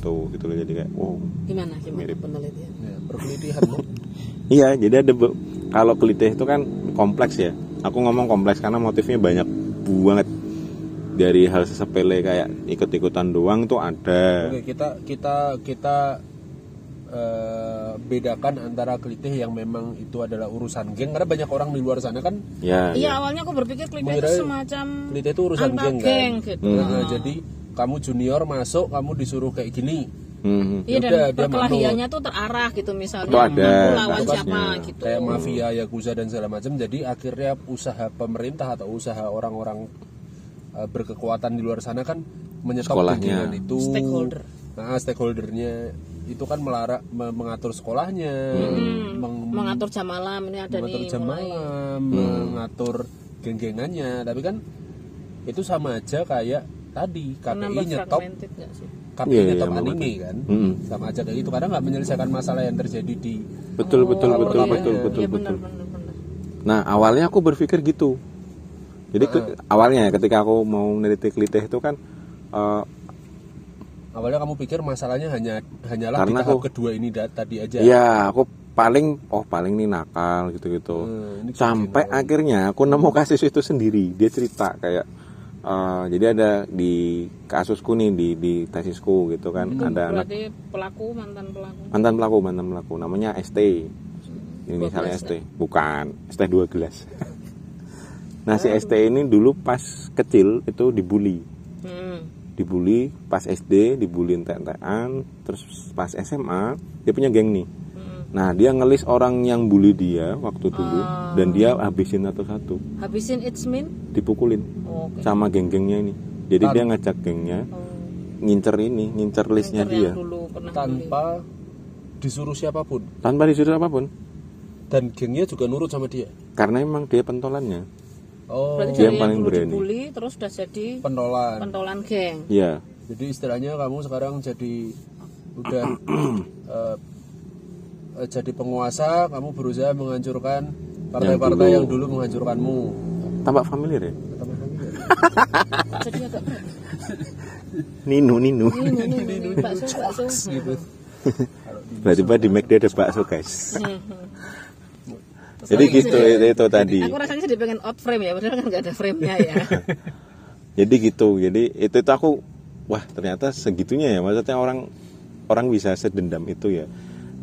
tahu gitu loh jadi kayak wow Gimana gimana Mirip. penelitian? Ya, perkelitihan Bu. iya jadi ada be- kalau kelitih itu kan kompleks ya aku ngomong kompleks karena motifnya banyak banget dari hal sepele kayak ikut-ikutan doang tuh ada Oke, kita kita kita eh, bedakan antara kelitih yang memang itu adalah urusan geng karena banyak orang di luar sana kan ya, Iya awalnya aku berpikir kelitih Mengira- itu semacam kelitih itu urusan antar geng, geng kan. gitu. Hmm. Nah, jadi kamu junior masuk kamu disuruh kayak gini. Mhm. Iya dan Yaudah, dia perkelahiannya tuh terarah Itu gitu misalnya ada, Nah, aku lawan batasnya. siapa gitu. kayak mafia yakuza dan segala macam jadi akhirnya usaha pemerintah atau usaha orang-orang eh, berkekuatan di luar sana kan menyetop Sekolahnya. kegiatan itu Stakeholder. nah stakeholdernya itu kan melarang me- mengatur sekolahnya Mm-hmm. meng- Hmm. mengatur jam malam ini ada mengatur nih jam mulai. Hmm. malam mengatur geng-gengannya tapi kan itu sama aja kayak tadi KPI Menambah nyetop fragmented nggak sih? KPI Iya, iya, nyetop menurut anime kan Mhm. sama aja kayak gitu karena nggak menyelesaikan masalah yang terjadi di betul betul Oh, betul iya. betul betul Iya benar betul benar benar. Nah awalnya aku berpikir gitu. Jadi ke- awalnya ya, ketika aku mau neliti kelitih itu kan eh, awalnya kamu pikir masalahnya hanya hanyalah Karena di tahap aku- kedua ini da- tadi aja. ya aku paling oh paling nih nakal gitu-gitu. Hmm, ini Sampai akhirnya aku nemu kasus itu sendiri. Dia cerita kayak eh, jadi ada di kasusku nih di di tesisku gitu kan Itu ada anak berarti pelaku mantan pelaku. mantan pelaku mantan pelaku namanya ST ini Dua misalnya gelas, ST bukan ST dua gelas nah si ST ini dulu pas kecil itu dibully Hmm. dibully pas SD dibully entek-entekan terus pas SMA dia punya geng nih hmm. nah dia ngelis orang yang bully dia waktu dulu Ah. dan dia habisin satu-satu Habisin it's mean. dipukulin Oke. sama geng-gengnya ini jadi dia ngajak gengnya Oh, ngincer ini ngincer listnya yang dia dulu pernah beli. tanpa disuruh siapapun tanpa disuruh apapun dan gengnya juga nurut sama dia. karena emang dia pentolannya Oh, Berarti Dia dari yang paling dulu berani. dibully terus udah jadi pentolan. pentolan geng. ya Jadi istilahnya kamu sekarang jadi udah eh, eh, jadi penguasa, kamu berusaha menghancurkan partai-partai yang dulu menghancurkanmu. tampak familiar ya Jadi agak berat. Nino Nino Ini ini ini, ini bakso bakso. gitu. tiba-tiba di Mac dia ada bakso guys jadi gitu itu, itu tadi Aku rasanya jadi pengen out frame ya, padahal kan nggak ada frame-nya ya. jadi gitu jadi itu itu aku wah ternyata segitunya ya maksudnya orang orang bisa sedendam itu ya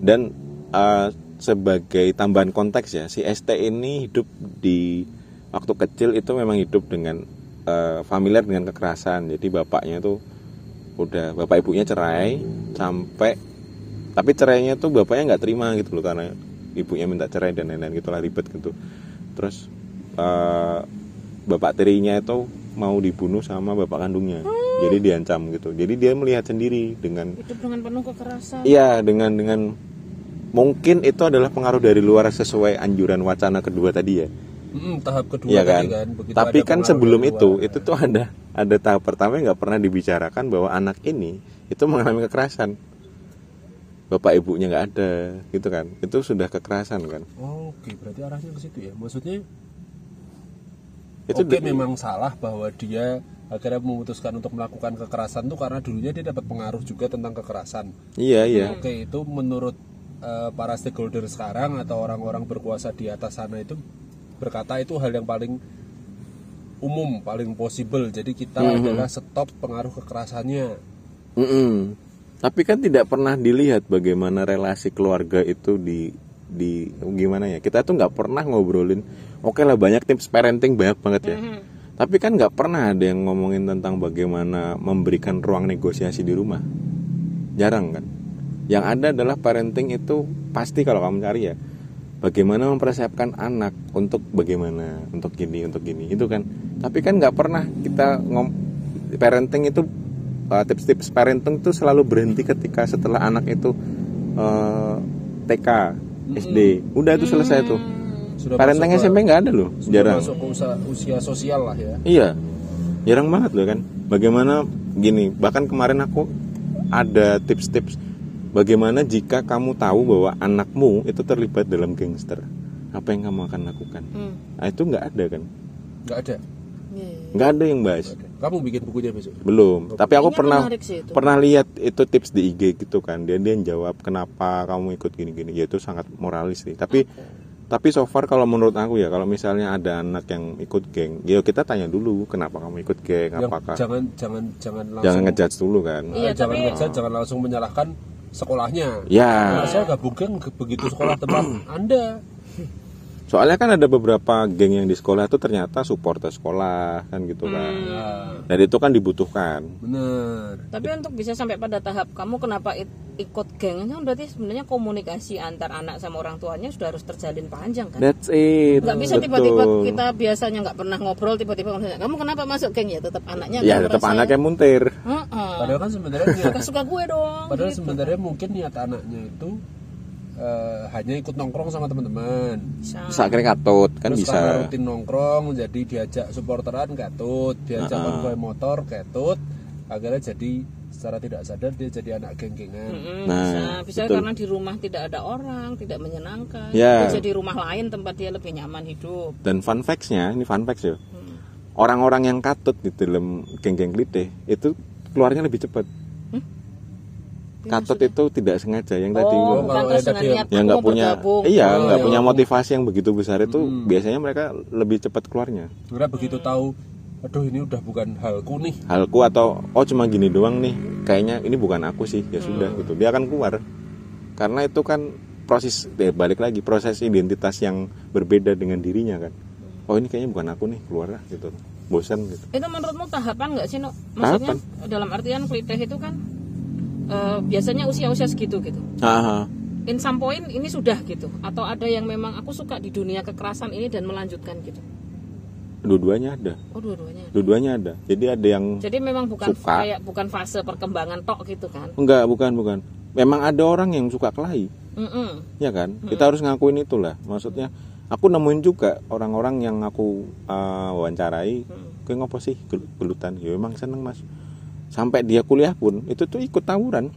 dan eh, sebagai tambahan konteks ya si ST ini hidup di waktu kecil itu memang hidup dengan eh, familiar dengan kekerasan jadi bapaknya tuh udah bapak ibunya cerai sampai tapi cerainya tuh bapaknya nggak terima gitu loh karena ibunya minta cerai dan lain-lain gitulah ribet gitu terus eh, bapak tirinya itu mau dibunuh sama bapak kandungnya jadi diancam gitu jadi dia melihat sendiri dengan Hidup dengan penuh kekerasan. iya dengan dengan mungkin itu adalah pengaruh dari luar sesuai anjuran wacana kedua tadi ya Mm, tahap kedua Iya kan? tadi kan. Begitu Tapi ada kan pengaruh sebelum dari itu, luar. itu tuh ada ada tahap pertama yang nggak pernah dibicarakan bahwa anak ini itu mengalami kekerasan. Bapak ibunya nggak ada, gitu kan? Itu sudah kekerasan kan? Oh, Oke, berarti arahnya ke situ ya. Maksudnya Itu Oke di- memang salah bahwa dia akhirnya memutuskan untuk melakukan kekerasan tuh karena dulunya dia dapat pengaruh juga tentang kekerasan. Iya iya. Oke itu menurut eh, para stakeholder sekarang atau orang-orang berkuasa di atas sana itu berkata itu hal yang paling umum, paling possible. Jadi kita adalah stop pengaruh kekerasannya. Mm-mm. Tapi kan tidak pernah dilihat bagaimana relasi keluarga itu di di gimana ya? Kita tuh nggak pernah ngobrolin. Oke lah banyak tips parenting banyak banget ya. Mm-hmm. Tapi kan nggak pernah ada yang ngomongin tentang bagaimana memberikan ruang negosiasi di rumah. Jarang kan? Yang ada adalah parenting itu pasti kalau kamu cari ya. Bagaimana mempersiapkan anak untuk bagaimana, untuk gini, untuk gini, itu kan. Tapi kan nggak pernah kita ngom parenting itu eh, tips-tips parenting itu selalu berhenti ketika setelah anak itu eh, TK, SD, udah itu selesai tuh. Sudah Parenting masuk ke- SMP nggak ada loh, sudah jarang. masuk ke usia, usia sosial lah ya. Iya, jarang banget loh kan. Bagaimana gini? Bahkan kemarin aku ada tips-tips bagaimana jika kamu tahu bahwa anakmu itu terlibat dalam gangster, apa yang kamu akan lakukan? Hmm. Nah, itu nggak ada kan? Nggak ada. Iya, iya. Nggak ada yang bahas. Nggak ada. Kamu bikin bukunya besok. belum tapi aku Kayaknya pernah menarik sih itu. pernah lihat itu tips di IG gitu kan dia dia jawab kenapa kamu ikut gini-gini ya itu sangat moralis sih tapi tapi so far kalau menurut aku ya kalau misalnya ada anak yang ikut geng ya kita tanya dulu kenapa kamu ikut geng Yang apakah jangan, jangan jangan jangan langsung ngejudge dulu kan eh, Iya, jangan tapi- ngejudge, jangan langsung menyalahkan sekolahnya. ya Nah, saya gabung geng ke- begitu sekolah teman Anda. soalnya kan ada beberapa geng yang di sekolah itu ternyata supporter sekolah kan gitu kan Nah, dan itu kan dibutuhkan bener. Hmm. Tapi untuk bisa sampai pada tahap kamu kenapa it- ikut geng kan berarti sebenarnya komunikasi antar anak sama orang tuanya sudah harus terjalin panjang kan? that's it Nggak bisa tiba-tiba Betul. kita biasanya nggak pernah ngobrol tiba-tiba kamu tanya, kamu kenapa masuk geng ya tetap anaknya ya kan tetap merasa, anaknya muntir "Heeh, Padahal kan sebenarnya niat- suka gue dong. padahal sebenarnya mungkin niat anaknya itu eh, hanya ikut nongkrong sama teman-teman. Bisa. bisa akhirnya katut kan Terus bisa karena rutin nongkrong jadi diajak supporteran ketut, diajak konvoy motor ketut, akhirnya jadi secara tidak sadar dia jadi anak geng-gengan. Mm, Nah, bisa, bisa betul. karena di rumah tidak ada orang, tidak menyenangkan. Ya. Bisa di rumah lain tempat dia lebih nyaman hidup. Hmm. dan fun facts-nya ini fun facts ya orang-orang yang katut di dalam geng-geng klite itu keluarnya lebih cepat Iya, katut itu tidak sengaja yang tadi oh, bilang. bukan kalau terus ada dengan dia- niat yang aku nggak mau punya bergabung. iya Oh, nggak iya. punya motivasi yang begitu besar itu biasanya mereka lebih cepat keluarnya Sebenarnya begitu tahu, aduh ini udah bukan halku nih. halku atau oh cuma gini doang nih kayaknya ini bukan aku sih ya sudah gitu dia akan keluar karena itu kan proses eh, balik lagi proses identitas yang berbeda dengan dirinya kan oh ini kayaknya bukan aku nih keluar lah gitu bosan gitu Itu menurutmu tahapan nggak sih, Nok? Maksudnya dalam artian kliteh itu kan eh, biasanya usia-usia segitu gitu. Aha. In some point ini sudah gitu atau ada yang memang aku suka di dunia kekerasan ini dan melanjutkan gitu. dua-duanya ada Oh, dua-duanya. dua-duanya ada jadi ada yang Jadi memang bukan Suka. kayak bukan fase perkembangan tok gitu kan. enggak bukan bukan memang ada orang yang suka kelahi Mm-mm. ya kan kita harus ngakuin itulah maksudnya aku nemuin juga orang-orang yang aku eh, wawancarai Mm. kayak ngopo sih gel- gelutan ya emang seneng mas sampai dia kuliah pun itu tuh ikut tawuran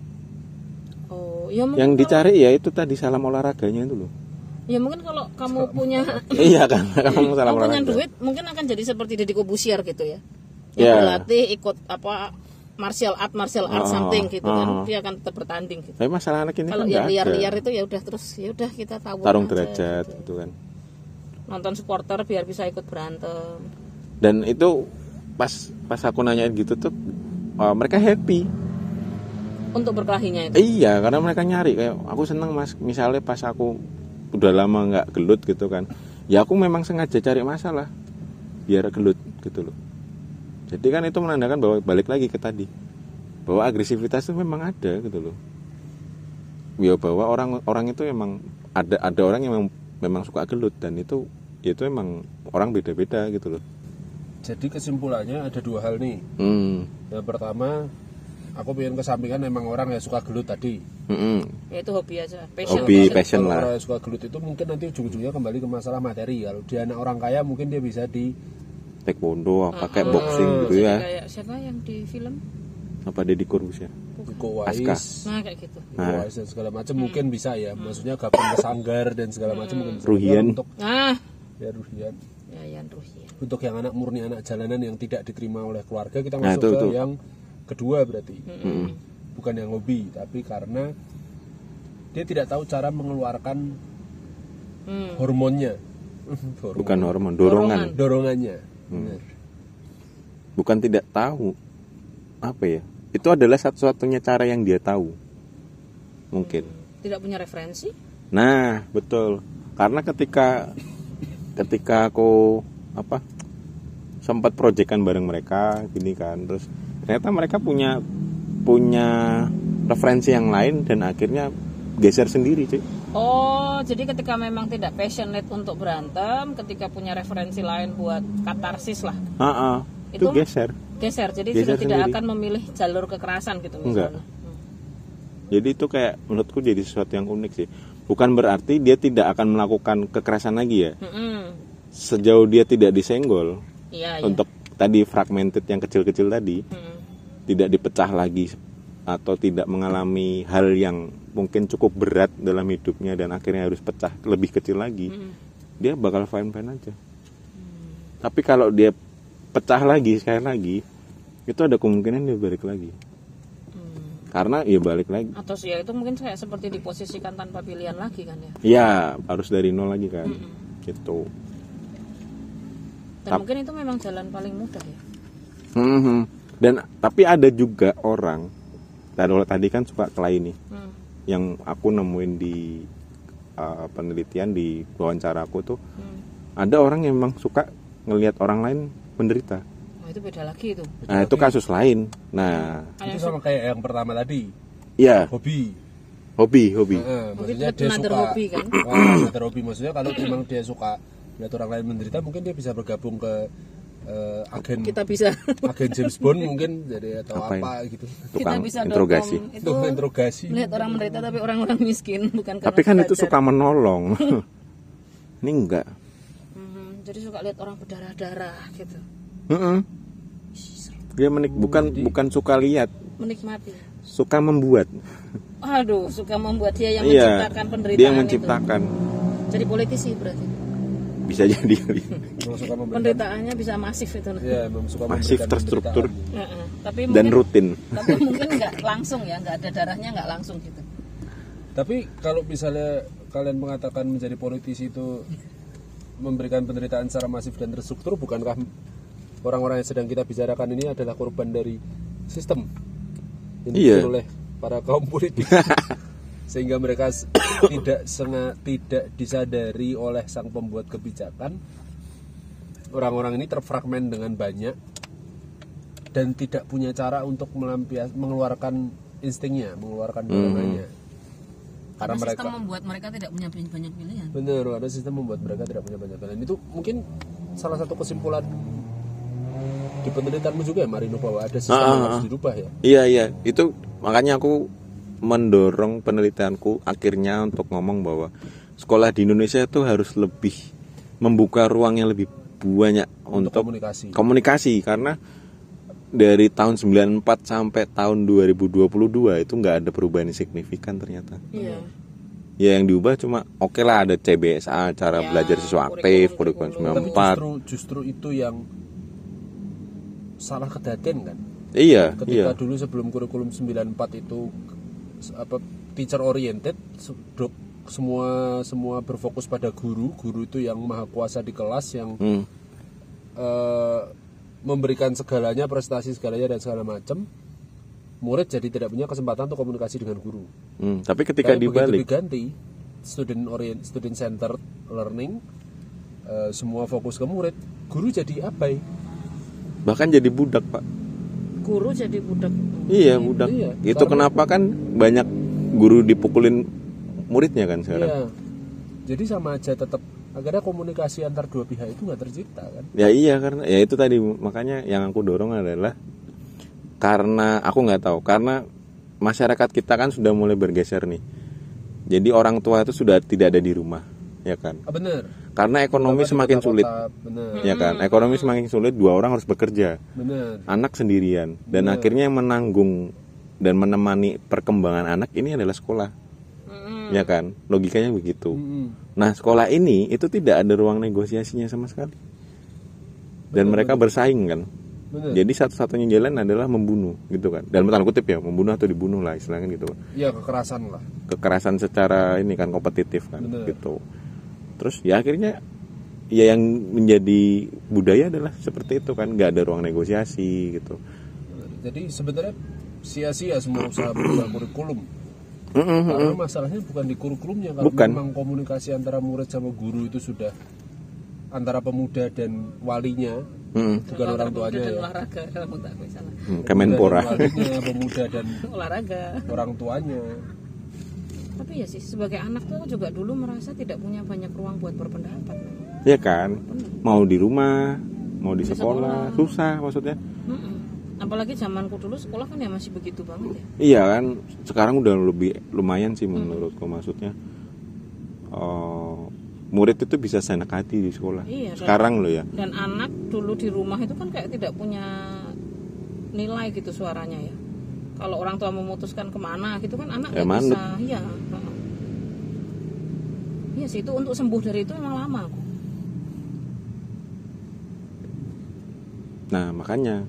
Oh, ya mungkin yang kalau- dicari ya itu tadi salam olahraganya itu loh Ya mungkin kalau kamu punya iya kan kamu salam kamu punya olahraga duit mungkin akan jadi seperti Deddy Kobusier gitu ya. Yang Ya. berlatih ikut apa martial art martial art Ah, something gitu kan ah. dia akan tetap bertanding gitu. tapi masalah anak ini Kalau kan yang nggak ada. liar-liar itu ya udah terus ya udah kita tahu tarung derajat gitu kan nonton supporter biar bisa ikut berantem. dan itu pas pas aku nanyain gitu tuh eh, mereka happy Untuk berkelahinya itu. Iya, karena mereka nyari kayak aku seneng mas. Misalnya pas aku udah lama nggak gelut gitu kan, ya aku memang sengaja cari masalah biar gelut gitu loh. Jadi kan itu menandakan bahwa balik lagi ke tadi bahwa agresivitas itu memang ada gitu loh. Ya bahwa orang orang itu memang ada ada orang yang memang, memang suka gelut dan itu itu emang orang beda-beda gitu loh. Jadi kesimpulannya ada dua hal nih. Hmm, Yang pertama, aku pengen kesampingan emang orang yang suka gelut tadi. Mm-mm. Ya itu hobi aja, passion. hobi passion. passion Kalau lah. orang yang suka gelut itu mungkin nanti ujung-ujungnya kembali ke masalah materi. Kalau dia anak orang kaya mungkin dia bisa di Taekwondo, apa kayak boxing gitu Jadi ya, kayak siapa yang di film? apa Deddy Corbuzier. Iko Aska. Uwais, Nah, kayak gitu. Iko Uwais dan segala macam mungkin bisa ya. Maksudnya gabung ke sanggar dan segala macam mungkin bisa. Ruhian. Untuk Nah, ya Ruhian. Yayan Ruhian. Untuk yang anak murni anak jalanan yang tidak diterima oleh keluarga kita Nah, masuk itu- ke itu. yang kedua berarti. Mm-mm. Bukan yang hobi, tapi karena dia tidak tahu cara mengeluarkan Hmm. hormonnya. Hormon. Bukan hormon, dorongan. dorongannya. Mm. Nah, Benar. bukan tidak tahu apa ya itu adalah satu-satunya cara yang dia tahu mungkin Tidak punya referensi? nah betul karena ketika ketika aku apa sempat proyekan bareng mereka gini kan terus ternyata mereka punya punya referensi yang lain dan akhirnya geser sendiri cuy Oh, jadi ketika memang tidak passionate untuk berantem, ketika punya referensi lain buat katarsis lah, Ah, ah. itu Itu- geser geser. Jadi Geser sudah tidak sendiri. akan memilih jalur kekerasan gitu Enggak. misalnya. Hmm. Jadi itu kayak menurutku jadi sesuatu yang unik sih. Bukan berarti dia tidak akan melakukan kekerasan lagi ya. Mm-mm. Sejauh dia tidak disenggol Iya, iya. untuk tadi fragmented yang kecil-kecil tadi Mm-mm. tidak dipecah lagi atau tidak mengalami hal yang mungkin cukup berat dalam hidupnya dan akhirnya harus pecah lebih kecil lagi. Dia bakal fine-fine aja. Tapi kalau dia pecah lagi sekali lagi itu ada kemungkinan dia balik lagi Hmm. karena ya balik lagi Atau sih ya itu mungkin kayak seperti diposisikan tanpa pilihan lagi kan ya. ya harus dari nol lagi kan gitu Dan mungkin itu memang jalan paling mudah ya. Mhm. dan tapi ada juga orang tadi tadi kan suka kelai nih Hmm. yang aku nemuin di uh, penelitian di wawancara aku tuh Hmm. ada orang yang memang suka ngelihat orang lain menderita Oh, itu beda lagi itu. nah itu kasus lain nah Ada yang itu sama kayak yang pertama tadi ya hobi hobi hobi Heeh, Mungkin Eh, maksudnya dia another suka hobby, kan? Wah, another hobby. maksudnya kalau memang dia suka lihat orang lain menderita mungkin dia bisa bergabung ke eh, agen kita bisa agen James Bond mungkin jadi atau Ngapain? apa gitu kita tukang bisa interogasi dotcom itu itu interogasi melihat orang menderita tapi orang-orang miskin bukan karena tapi kan itu belajar. suka menolong ini enggak Hmm, jadi suka lihat orang berdarah-darah gitu Mm-mm. dia menik bukan bukan suka lihat menikmati suka membuat aduh suka membuat dia yang iya menciptakan penderitaan dia yang itu menciptakan jadi politisi berarti bisa jadi memang suka memberikan penderitaannya bisa masif itu nah. ya memang suka masif memberikan terstruktur penderitaan. Heeh. tapi dan mungkin rutin tapi mungkin nggak langsung ya nggak ada darahnya nggak langsung gitu tapi kalau misalnya kalian mengatakan menjadi politisi itu memberikan penderitaan secara masif dan terstruktur bukankah orang-orang yang sedang kita bicarakan ini adalah korban dari sistem yang Iya. diatur oleh para kaum politik sehingga mereka s- tidak senga, tidak disadari oleh sang pembuat kebijakan orang-orang ini terfragmen dengan banyak dan tidak punya cara untuk melampias mengeluarkan instingnya mengeluarkan dorongannya karena mereka sistem membuat mereka tidak punya banyak pilihan Bener, ada sistem membuat mereka tidak punya banyak pilihan. Itu mungkin salah satu kesimpulan di penelitianmu juga ya Marino bahwa ada sistem yang harus dirubah ya. Iya iya itu makanya aku mendorong penelitianku akhirnya untuk ngomong bahwa sekolah di Indonesia itu harus lebih membuka ruang yang lebih banyak Untuk untuk komunikasi. komunikasi karena dari tahun 94 sampai tahun 2022 itu nggak ada perubahan yang signifikan ternyata. iya Ya yang diubah cuma oke lah ada CBSA cara Ya, belajar siswa kurikulum, aktif kurikulum kurikulum. Tapi 94. justru justru itu yang salah kedaten kan. Iya, iya. Ketika dulu sebelum kurikulum 94 itu s- apa teacher oriented, se- dok- semua semua berfokus pada guru. Guru itu yang maha kuasa di kelas yang Hmm. eh, memberikan segalanya prestasi segalanya dan segala macam murid jadi tidak punya kesempatan untuk komunikasi dengan guru Hmm, tapi ketika Tapi begitu dibalik diganti student orient student centered learning eh, semua fokus ke murid guru jadi abai bahkan jadi budak, Pak. guru jadi budak Iya budak. Iya, itu kenapa kan banyak guru dipukulin muridnya kan sekarang. Iya. jadi sama aja tetap akhirnya komunikasi antar dua pihak itu nggak tercipta kan Ya iya karena ya itu tadi makanya yang aku dorong adalah karena aku nggak tahu karena masyarakat kita kan sudah mulai bergeser nih. Jadi orang tua itu sudah tidak ada di rumah ya kan. ah, bener Karena ekonomi Di semakin sulit kota-kota, bener ya kan. Hmm. Ekonomi semakin sulit dua orang harus bekerja. bener Anak sendirian dan akhirnya yang menanggung dan menemani perkembangan anak ini adalah sekolah. Mm-mm. Ya kan? Logikanya begitu. Mm-mm. Nah, sekolah ini itu tidak ada ruang negosiasinya sama sekali. Dan mereka bersaing kan. bener Jadi satu-satunya jalan adalah membunuh gitu kan. Dalam tanda kutip ya, membunuh atau dibunuh lah istilahnya gitu. ya kekerasan lah Kekerasan secara ini kan kompetitif kan Bener. gitu. Terus ya akhirnya ya yang menjadi budaya adalah seperti itu kan, nggak ada ruang negosiasi gitu. Jadi sebenarnya sia-sia semua usaha berubah kurikulum. Mm-mm. Karena masalahnya bukan di kurikulumnya, kalau Bukan. memang komunikasi antara murid sama guru itu sudah antara pemuda dan walinya, Mm-mm. bukan Antara orang pemuda tuanya dan ya. olahraga kalau menurut aku ya, salah Hmm, Pemuda dan Kemenpora. walinya, pemuda dan olahraga orang tuanya. tapi ya sih sebagai anak tuh aku juga dulu merasa tidak punya banyak ruang buat berpendapat memang. ya kan? Mau di rumah, mau di sekolah, susah maksudnya. Mm-mm. apalagi zamanku dulu sekolah kan ya masih begitu banget ya Iya kan, sekarang udah lebih lumayan sih menurutku maksudnya. eh, murid itu bisa senak hati di sekolah. Iya, dan- sekarang loh ya. dan anak dulu di rumah itu kan kayak tidak punya nilai gitu suaranya ya kalau orang tua memutuskan kemana gitu kan anak Ya, nggak manut. bisa iya heeh. iya sih itu untuk sembuh dari itu memang lama aku Nah, makanya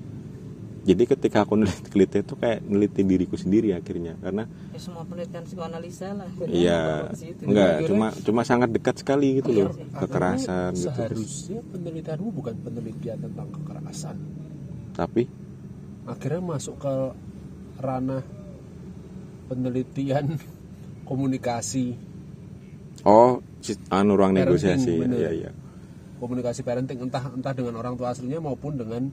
jadi ketika aku neliti neliti itu kayak neliti diriku sendiri akhirnya karena Ya, semua penelitian psikoanalisa lah Iya, Situ. enggak cuma cuma sangat dekat sekali gitu loh kekerasan gitu. seharusnya penelitianmu bukan penelitian tentang kekerasan Tapi akhirnya masuk ke ranah penelitian komunikasi oh si- anu ruang Parenting, negosiasi ya, bener. ya ya. komunikasi parenting entah entah dengan orang tua aslinya maupun dengan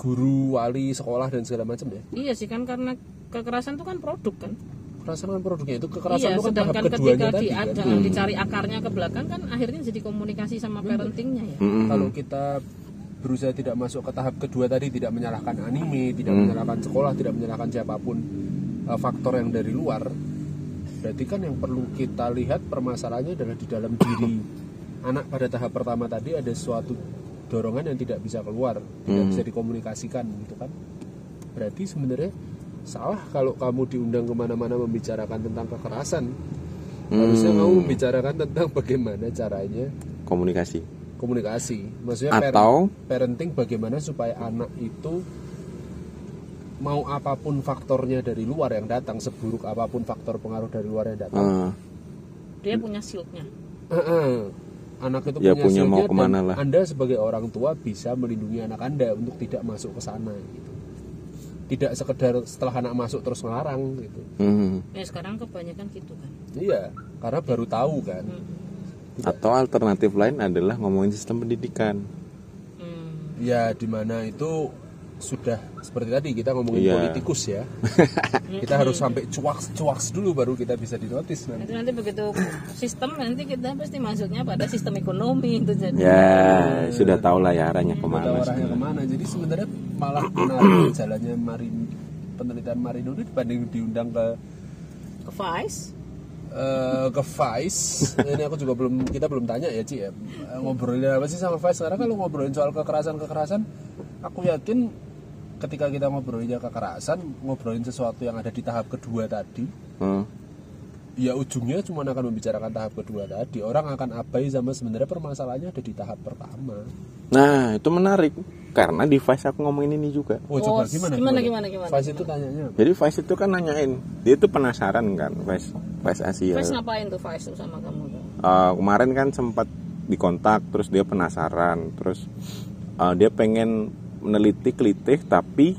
guru wali sekolah dan segala macam ya iya sih kan karena kekerasan itu kan produk kan kekerasan kan produknya itu kekerasan iya itu kan tahap sedangkan keduanya ketika tadi di, kan ada, Hmm. dicari akarnya ke belakang kan akhirnya jadi komunikasi sama parentingnya ya Mm-mm. kalau kita berusaha tidak masuk ke tahap kedua tadi tidak menyalahkan anime tidak menyalahkan sekolah tidak menyalahkan siapapun eh, faktor yang dari luar berarti kan yang perlu kita lihat permasalahannya adalah di dalam diri anak pada tahap pertama tadi ada suatu dorongan yang tidak bisa keluar tidak bisa dikomunikasikan gitu kan berarti sebenarnya salah kalau kamu diundang kemana-mana membicarakan tentang kekerasan harusnya kamu membicarakan tentang bagaimana caranya komunikasi. komunikasi maksudnya parent- Atau parenting bagaimana supaya anak itu mau apapun faktornya dari luar yang datang seburuk apapun faktor pengaruh dari luar yang datang eh, dia punya shieldnya anak itu Ya, punya punya mau skillnya kemana dan lah. anda sebagai orang tua bisa melindungi anak anda untuk tidak masuk ke sana gitu tidak sekedar setelah anak masuk terus ngelarang gitu mm, ya sekarang kebanyakan gitu kan iya karena baru tahu kan atau alternatif lain adalah ngomongin sistem pendidikan. Hmm. ya dimana itu sudah seperti tadi kita ngomongin Iya. politikus ya kita harus sampai cuaks cuaks dulu baru kita bisa dinotis nanti itu nanti begitu sistem nanti kita pasti masuknya pada sistem ekonomi itu jadi Ya, sudah tau lah ya arahnya ada kemana. orangnya kemana jadi sebenarnya malah menarik jalannya marin penelitian Marino ini dibanding diundang ke ke Vice eh, ke Vice ini aku juga belum kita belum tanya ya Ci ya Eh, ngobrolin apa sih sama Vice karena kalau ngobrolin soal kekerasan kekerasan aku yakin ketika kita ngobrolinnya kekerasan ngobrolin sesuatu yang ada di tahap kedua tadi Hmm, ya ujungnya cuma akan membicarakan tahap kedua tadi orang akan abai sama sebenarnya permasalahannya ada di tahap pertama Nah, itu menarik karena di Vice aku ngomongin ini juga. oh, coba Oh, gimana gimana, gimana, gimana, Vice itu tanyanya Jadi Vice itu kan nanyain, dia itu penasaran kan Vice Vice Asia. Vice ngapain tuh Vice tuh sama kamu tuh Eh, kemarin kan sempat dikontak, terus dia penasaran, terus eh, dia pengen meneliti kelitih tapi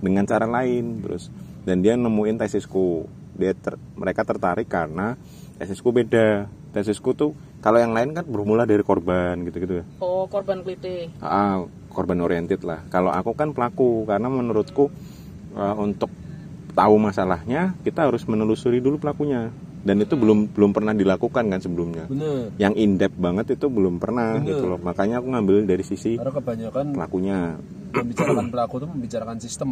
dengan cara lain, terus dan dia nemuin tesisku. Dia ter- mereka tertarik karena tesisku beda. Tesisku tuh kalau yang lain kan bermula dari korban gitu-gitu ya. oh korban kelitih Ah, korban oriented lah. Kalau aku kan pelaku karena menurutku eh, untuk tahu masalahnya kita harus menelusuri dulu pelakunya dan itu belum belum pernah dilakukan kan sebelumnya. bener Yang in depth banget itu belum pernah Bener. gitu loh. Makanya aku ngambil dari sisi Karena kebanyakan pelakunya. membicarakan pelaku itu membicarakan sistem.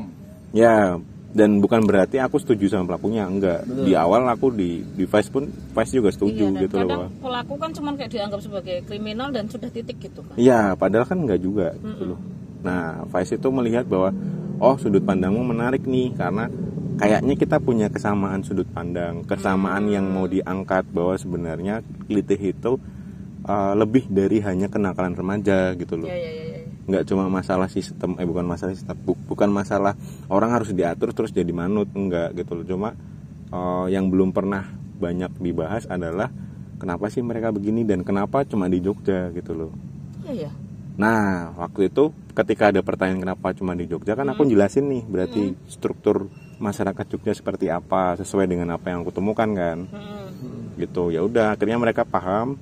Ya, dan bukan berarti aku setuju sama pelakunya, enggak. Di awal aku di di Vice pun Vice juga setuju Iya, dan gitu loh. kadang bahwa- pelaku kan cuman kayak dianggap sebagai kriminal dan sudah titik gitu kan Iya, padahal kan enggak juga gitu loh. Nah, Faiz itu melihat bahwa oh sudut pandangmu menarik nih karena kayaknya kita punya kesamaan sudut pandang, kesamaan yang mau diangkat bahwa sebenarnya litih itu uh, lebih dari hanya kenakalan remaja gitu loh. ya ya ya, ya. Enggak cuma masalah sistem, eh bukan masalah sistem, bu- bukan masalah orang harus diatur terus jadi manut, enggak gitu loh. Cuma uh, yang belum pernah banyak dibahas adalah kenapa sih mereka begini dan kenapa cuma di Jogja gitu loh. Iya, ya. Nah, waktu itu ketika ada pertanyaan kenapa cuma di Jogja kan aku jelasin nih, berarti struktur masyarakat Jogja seperti apa sesuai dengan apa yang aku temukan kan. Mm-mm. Gitu. Ya udah, akhirnya mereka paham.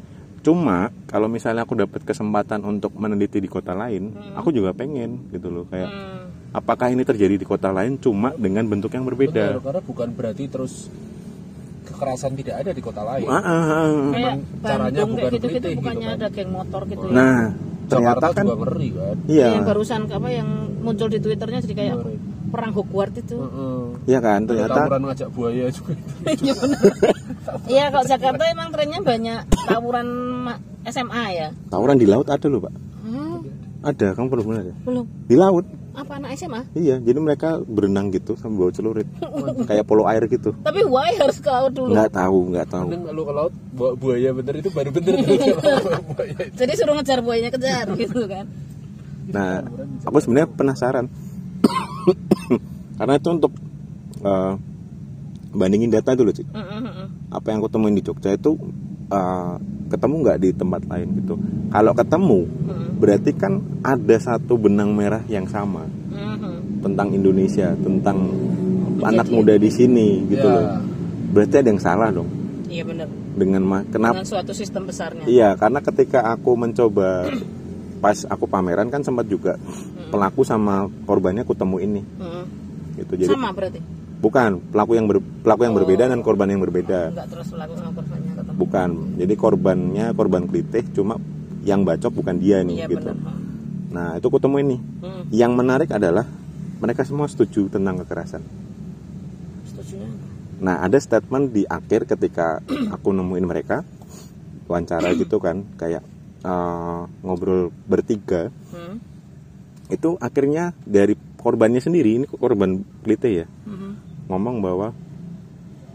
Cuma kalau misalnya aku dapat kesempatan untuk meneliti di kota lain, aku juga pengen gitu loh kayak Hmm. apakah ini terjadi di kota lain cuma dengan bentuk yang Benar, berbeda. karena bukan berarti terus kekerasan tidak ada di kota lain. Ah, ah, ah, ah. kayak Bandung caranya kayak bukan gitu-gitu kelitih bukannya gitu kan. ada geng motor gitu ya Nah, ternyata Jakarta kan juga ngeri kan. iya. yang barusan apa yang muncul di twitternya jadi kayak Ngeri. perang Hogwarts itu Heeh. Iya kan, Ada ternyata Tawuran ngajak buaya juga itu. iya kalau Jakarta emang trennya banyak tawuran ma- SMA ya tawuran di laut ada loh, Pak. Hmm, Ada, kamu perlu benar ya. belum Di laut apa anak SMA Iya, jadi mereka berenang gitu sambil bawa celurit. Kayak polo air gitu. tapi why harus kau dulu Nggak tahu, nggak tahu. Mending lu ke laut bawa buaya bener itu baru bener tuh bawa buaya. jadi suruh ngejar buayanya kejar gitu kan Nah, aku sebenarnya penasaran. Karena itu untuk eh, bandingin data dulu sih. Mm, mm, mm, mm. Apa yang aku temuin di Jogja itu eh, ketemu nggak di tempat lain gitu. Kalau ketemu, berarti kan ada satu benang merah yang sama Mhm. tentang Indonesia, tentang anak muda di sini gitu Ya. loh. Berarti ada yang salah dong Iya benar. dengan ma- kenapa? Dengan suatu sistem besarnya. Iya, karena ketika aku mencoba pas aku pameran kan sempat juga pelaku sama korbannya aku temuin nih Mm. gitu. Jadi Sama berarti. bukan pelaku yang ber, pelaku yang Oh. berbeda dan korban yang berbeda. Enggak terus pelaku sama korbannya ketemu. Bukan. Jadi korbannya korban kelitih cuma yang bacok bukan dia nih Iya gitu. benar. Heeh. Nah, itu aku temuin nih. Mm. Yang menarik adalah mereka semua setuju tentang kekerasan. Setuju. Nah, ada statement di akhir ketika aku nemuin mereka wawancara gitu kan, kayak eh, ngobrol bertiga. Mm. Itu akhirnya dari korbannya sendiri, ini korban Klite ya, Mhm. ngomong bahwa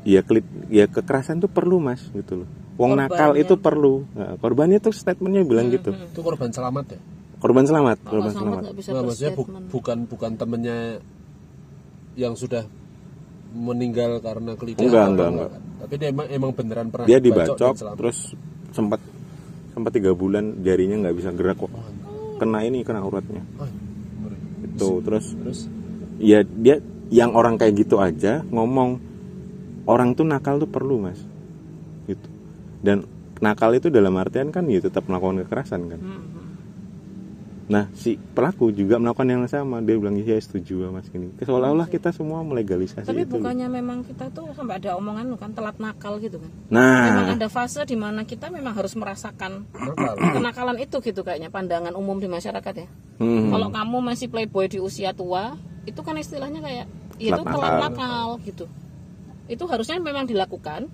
ya Klit- ya kekerasan tuh perlu mas gitu loh. Wong nakal Korbannya. itu perlu. Nah, korbannya tuh statementnya bilang gitu. itu korban selamat ya Korban selamat, hmm. Kalau korban selamat selamat. nggak bisa Nah, maksudnya bu- berstatement. bukan bukan temennya yang sudah meninggal karena kelitihan Enggak, atau enggak, apa, tapi dia emang emang beneran pernah Dia dibacok dan dibacok, selamat. terus sempat sempat tiga bulan jarinya nggak bisa gerak kok. Kena ini kena uratnya. Ah, ngeri. Itu terus terus ya dia yang orang kayak gitu aja ngomong orang tuh nakal tuh perlu mas gitu dan nakal itu dalam artian kan ya tetap melakukan kekerasan kan Mhm. nah si pelaku juga melakukan yang sama dia bilang ya setuju mas ini seolah-olah kita semua melegalisasi Tapi itu bukannya memang kita tuh sampai ada omongan kan telat nakal gitu kan. Memang nah ada fase di mana kita memang harus merasakan nakal kenakalan itu gitu kayaknya pandangan umum di masyarakat ya. hmm, Kalau kamu masih playboy di usia tua, itu kan istilahnya kayak ya itu Telat telat nakal. nakal gitu. Itu harusnya memang dilakukan,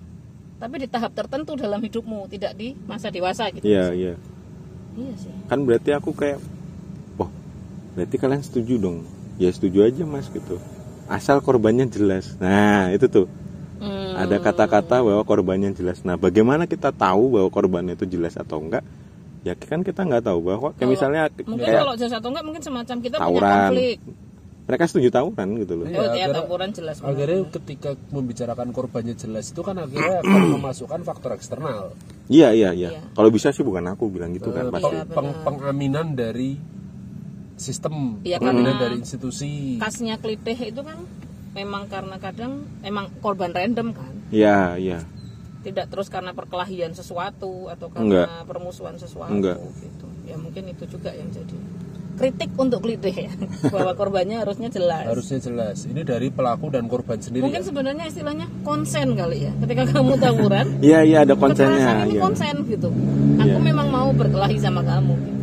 tapi di tahap tertentu dalam hidupmu, tidak di masa dewasa gitu. iya iya Iya sih. kan berarti aku kayak wah berarti kalian setuju dong ya setuju aja mas gitu asal korbannya jelas nah itu tuh Hmm, ada kata-kata bahwa korbannya jelas. Nah, bagaimana kita tahu bahwa korbannya itu jelas atau enggak? Ya kan kita nggak tahu bahwa kayak Kalau- misalnya Mungkin kayak kalau jelas atau enggak mungkin semacam kita punya Tawuran. konflik. mereka setuju tawuran gitu loh. Oh, Iya, iya, akhirnya- tawuran jelas. banget. akhirnya ketika membicarakan korbannya jelas itu kan akhirnya akan memasukkan faktor eksternal Iya, iya, iya. Iya. Kalau bisa sih bukan aku bilang gitu kan Eh, pasti. peng- peng- pengaminan dari sistem Iya, pengaminan karena- dari institusi Kasnya klitih itu kan memang karena kadang emang korban random kan. Iya, iya. tidak terus karena perkelahian sesuatu atau karena permusuhan sesuatu Enggak. gitu ya mungkin itu juga yang jadi kritik untuk klitih ya bahwa korbannya harusnya jelas harusnya jelas ini dari pelaku dan korban ya. sendiri mungkin sebenarnya istilahnya konsen kali ya ketika kamu tawuran Iya, iya ada kekerasan konsennya. ini Iya. konsen gitu Iya. aku memang mau berkelahi sama kamu gitu.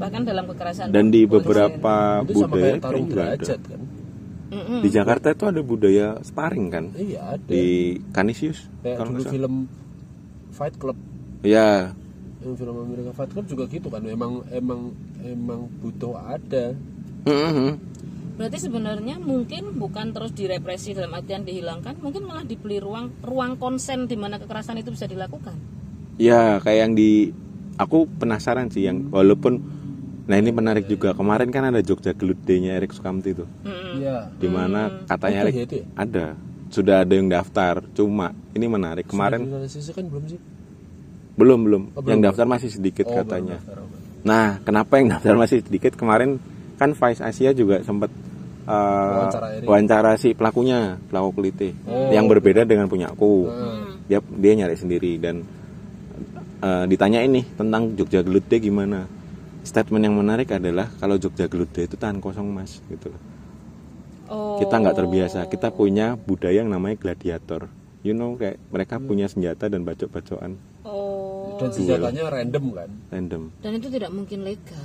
bahkan dalam kekerasan ya. Dan di konsen. beberapa itu sama budaya kayak itu tarung juga ada. derajat kan Mm-mm. Di Jakarta itu ada budaya sparring kan? iya ada Di Kanisius kayak kalau dulu nggak salah. film Fight Club Iya. yang film Amerika Fight Club juga gitu kan emang emang emang butuh ada Mhm. berarti sebenarnya mungkin bukan terus direpresi dalam artian dihilangkan mungkin malah dibeli ruang ruang konsen di mana kekerasan itu bisa dilakukan Ya kayak yang di aku penasaran sih yang Hmm. walaupun nah ini menarik juga kemarin kan ada Jogja Gelut Day-nya Erik Sukamti tuh Mm-mm. iya di mana katanya Ada Erik ya itu ya? ada sudah ada yang daftar cuma ini menarik kemarin Sisi kan belum sih belum belum Oh, yang belum. daftar masih sedikit Oh, Gitu katanya baru daftar, oh. nah kenapa yang daftar masih sedikit kemarin kan Vice Asia juga sempat eh, Wawancara Erik. wawancara si pelakunya pelaku kulite Oh. yang berbeda dengan punya aku Nah, dia dia nyari sendiri dan eh, ditanya ini tentang Jogja Gelut Day gimana statement yang menarik adalah kalau Jogja Gelut Day itu tahan kosong mas gitu loh. Oh. kita nggak terbiasa Oh. kita punya budaya yang namanya gladiator you know kayak Hmm. mereka punya senjata dan bacok-bacokan Iya. Oh. dan senjatanya random kan random Dan itu tidak mungkin legal.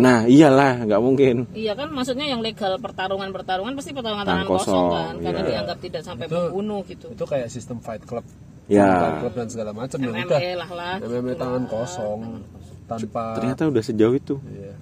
nah iyalah nggak mungkin Iya kan, maksudnya yang legal pertarungan-pertarungan pasti pertarungan Tangan tangan kosong kosong, kan, karena iya. dianggap tidak sampai Itu- membunuh gitu. itu kayak sistem Fight Club Fight ya Club dan segala macam yang udah MMA lah lah. MMA tangan kosong tanpa ternyata udah sejauh itu Iya.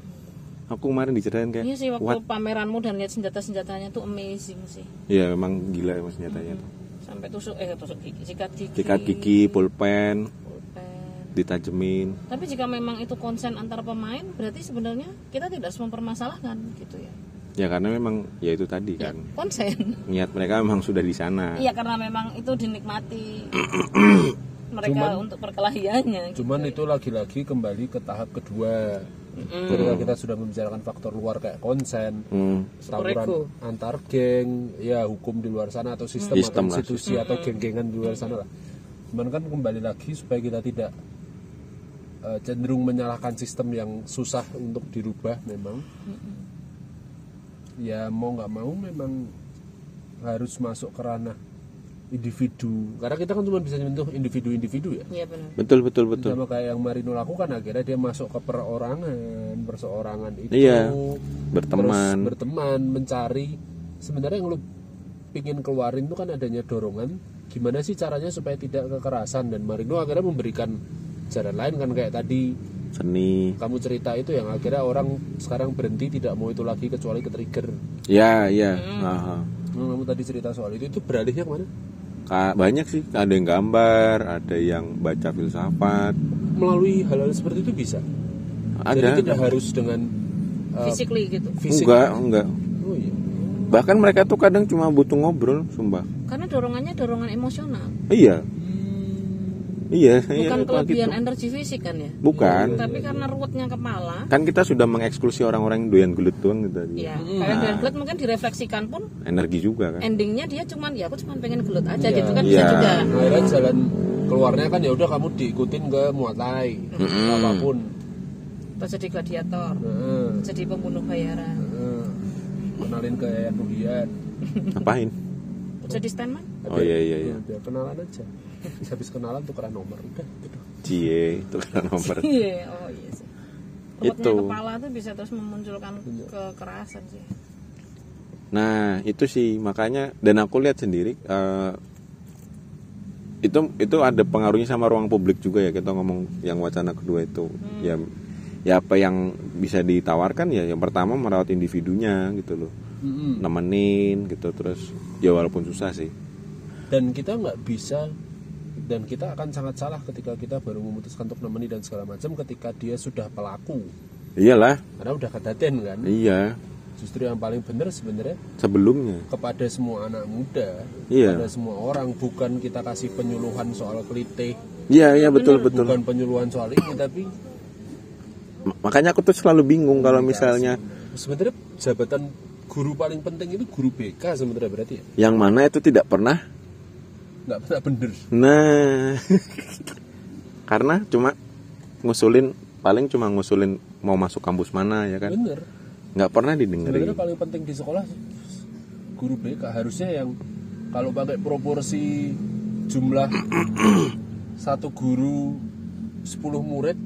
aku kemarin diceritain kayak Iya sih waktu what pameranmu dan lihat senjata-senjatanya tuh amazing sih. ya memang gila emang senjatanya tuh Sampai tusuk eh tusuk gigi, sikat gigi. sikat gigi pulpen pulpen. ditajemin Tapi jika memang itu konsen antar pemain, berarti sebenarnya kita tidak harus mempermasalahkan gitu ya. ya karena memang ya itu tadi kan konsen niat mereka memang sudah di sana iya karena memang itu dinikmati mereka untuk perkelahiannya gitu. Cuman itu lagi-lagi kembali ke tahap kedua. Mm, Ketika kita sudah membicarakan faktor luar kayak konsen, Hmm. Superego. tawuran antar geng, ya hukum di luar sana atau sistem, Sistem atau lah, institusi atau geng-gengan di luar sana lah. Cuman kan kembali lagi supaya kita tidak eh, cenderung menyalahkan sistem yang susah untuk dirubah memang. Ya mau nggak mau memang harus masuk ke ranah individu. Karena kita kan cuma bisa nyentuh individu-individu ya. iya benar betul betul betul Sama kayak yang Marino lakukan akhirnya dia masuk ke perorangan, perseorangan itu. Iya, Terus berteman berteman, mencari. Sebenarnya yang lu pingin keluarin itu kan adanya dorongan. Gimana sih caranya supaya tidak kekerasan dan Marino akhirnya memberikan jalan lain kan kayak tadi seni kamu cerita itu yang akhirnya orang sekarang berhenti tidak mau itu lagi kecuali ke trigger. ya ya Aha. Hmm, kamu tadi cerita soal itu itu beralihnya kemana? Ka- banyak sih ada yang gambar ada yang baca filsafat Melalui hal-hal seperti itu bisa. ada Jadi tidak harus dengan Um, eh, physically gitu fisik. enggak enggak Oh iya. bahkan mereka tuh kadang cuma butuh ngobrol sumpah karena dorongannya dorongan emosional iya iya iya bukan kayak gitu. kelebihan iya. energi fisik kan ya bukan tapi karena ruwetnya kepala kan kita sudah mengeksklusi orang-orang yang doyan gelut doang gitu tadi. ya kalian dan gelut mungkin direfleksikan pun energi juga kan endingnya dia cuman ya aku cuman pengen gelut aja gitu kan bisa Iya. juga Nah, akhirnya jalan keluarnya kan ya udah kamu diikutin ke Muay Thai apapun Nah, terus jadi gladiator Heeh, jadi pembunuh bayaran heeh. Eh, kenalin ke Yayan Ruhian ngapain jadi standman oh iya iya iya udah Hmm, ya, kenalan aja Terus habis kenalan tukeran nomor udah gitu. cie itu kan nomor iya oh iya sih ruwetnya Itu. kepala tuh bisa terus memunculkan Iya. kekerasan sih Nah itu sih makanya dan aku lihat sendiri eh, itu itu ada pengaruhnya sama ruang publik juga ya kita ngomong yang wacana kedua itu ya ya apa yang bisa ditawarkan ya yang pertama merawat individunya gitu loh Mm-mm. nemenin gitu terus ya walaupun susah sih dan kita nggak bisa dan kita akan sangat salah ketika kita baru memutuskan untuk nemeni dan segala macam ketika dia sudah pelaku iyalah karena udah kedaten kan iya justru yang paling bener sebenarnya sebelumnya kepada semua anak muda, Iya. kepada semua orang, bukan kita kasih penyuluhan soal kelitih, iya iya betul betul bukan penyuluhan soal ini, tapi Ma- makanya aku tuh selalu bingung kalau misalnya sebenarnya jabatan guru paling penting itu guru BK sebenarnya berarti ya, yang mana itu tidak pernah nggak pernah bener. Nah, karena cuma ngusulin paling cuma ngusulin mau masuk kampus mana ya kan, Bener. nggak pernah didengerin. Sebenarnya paling penting di sekolah guru BK harusnya yang kalau pakai proporsi jumlah satu guru 10 murid,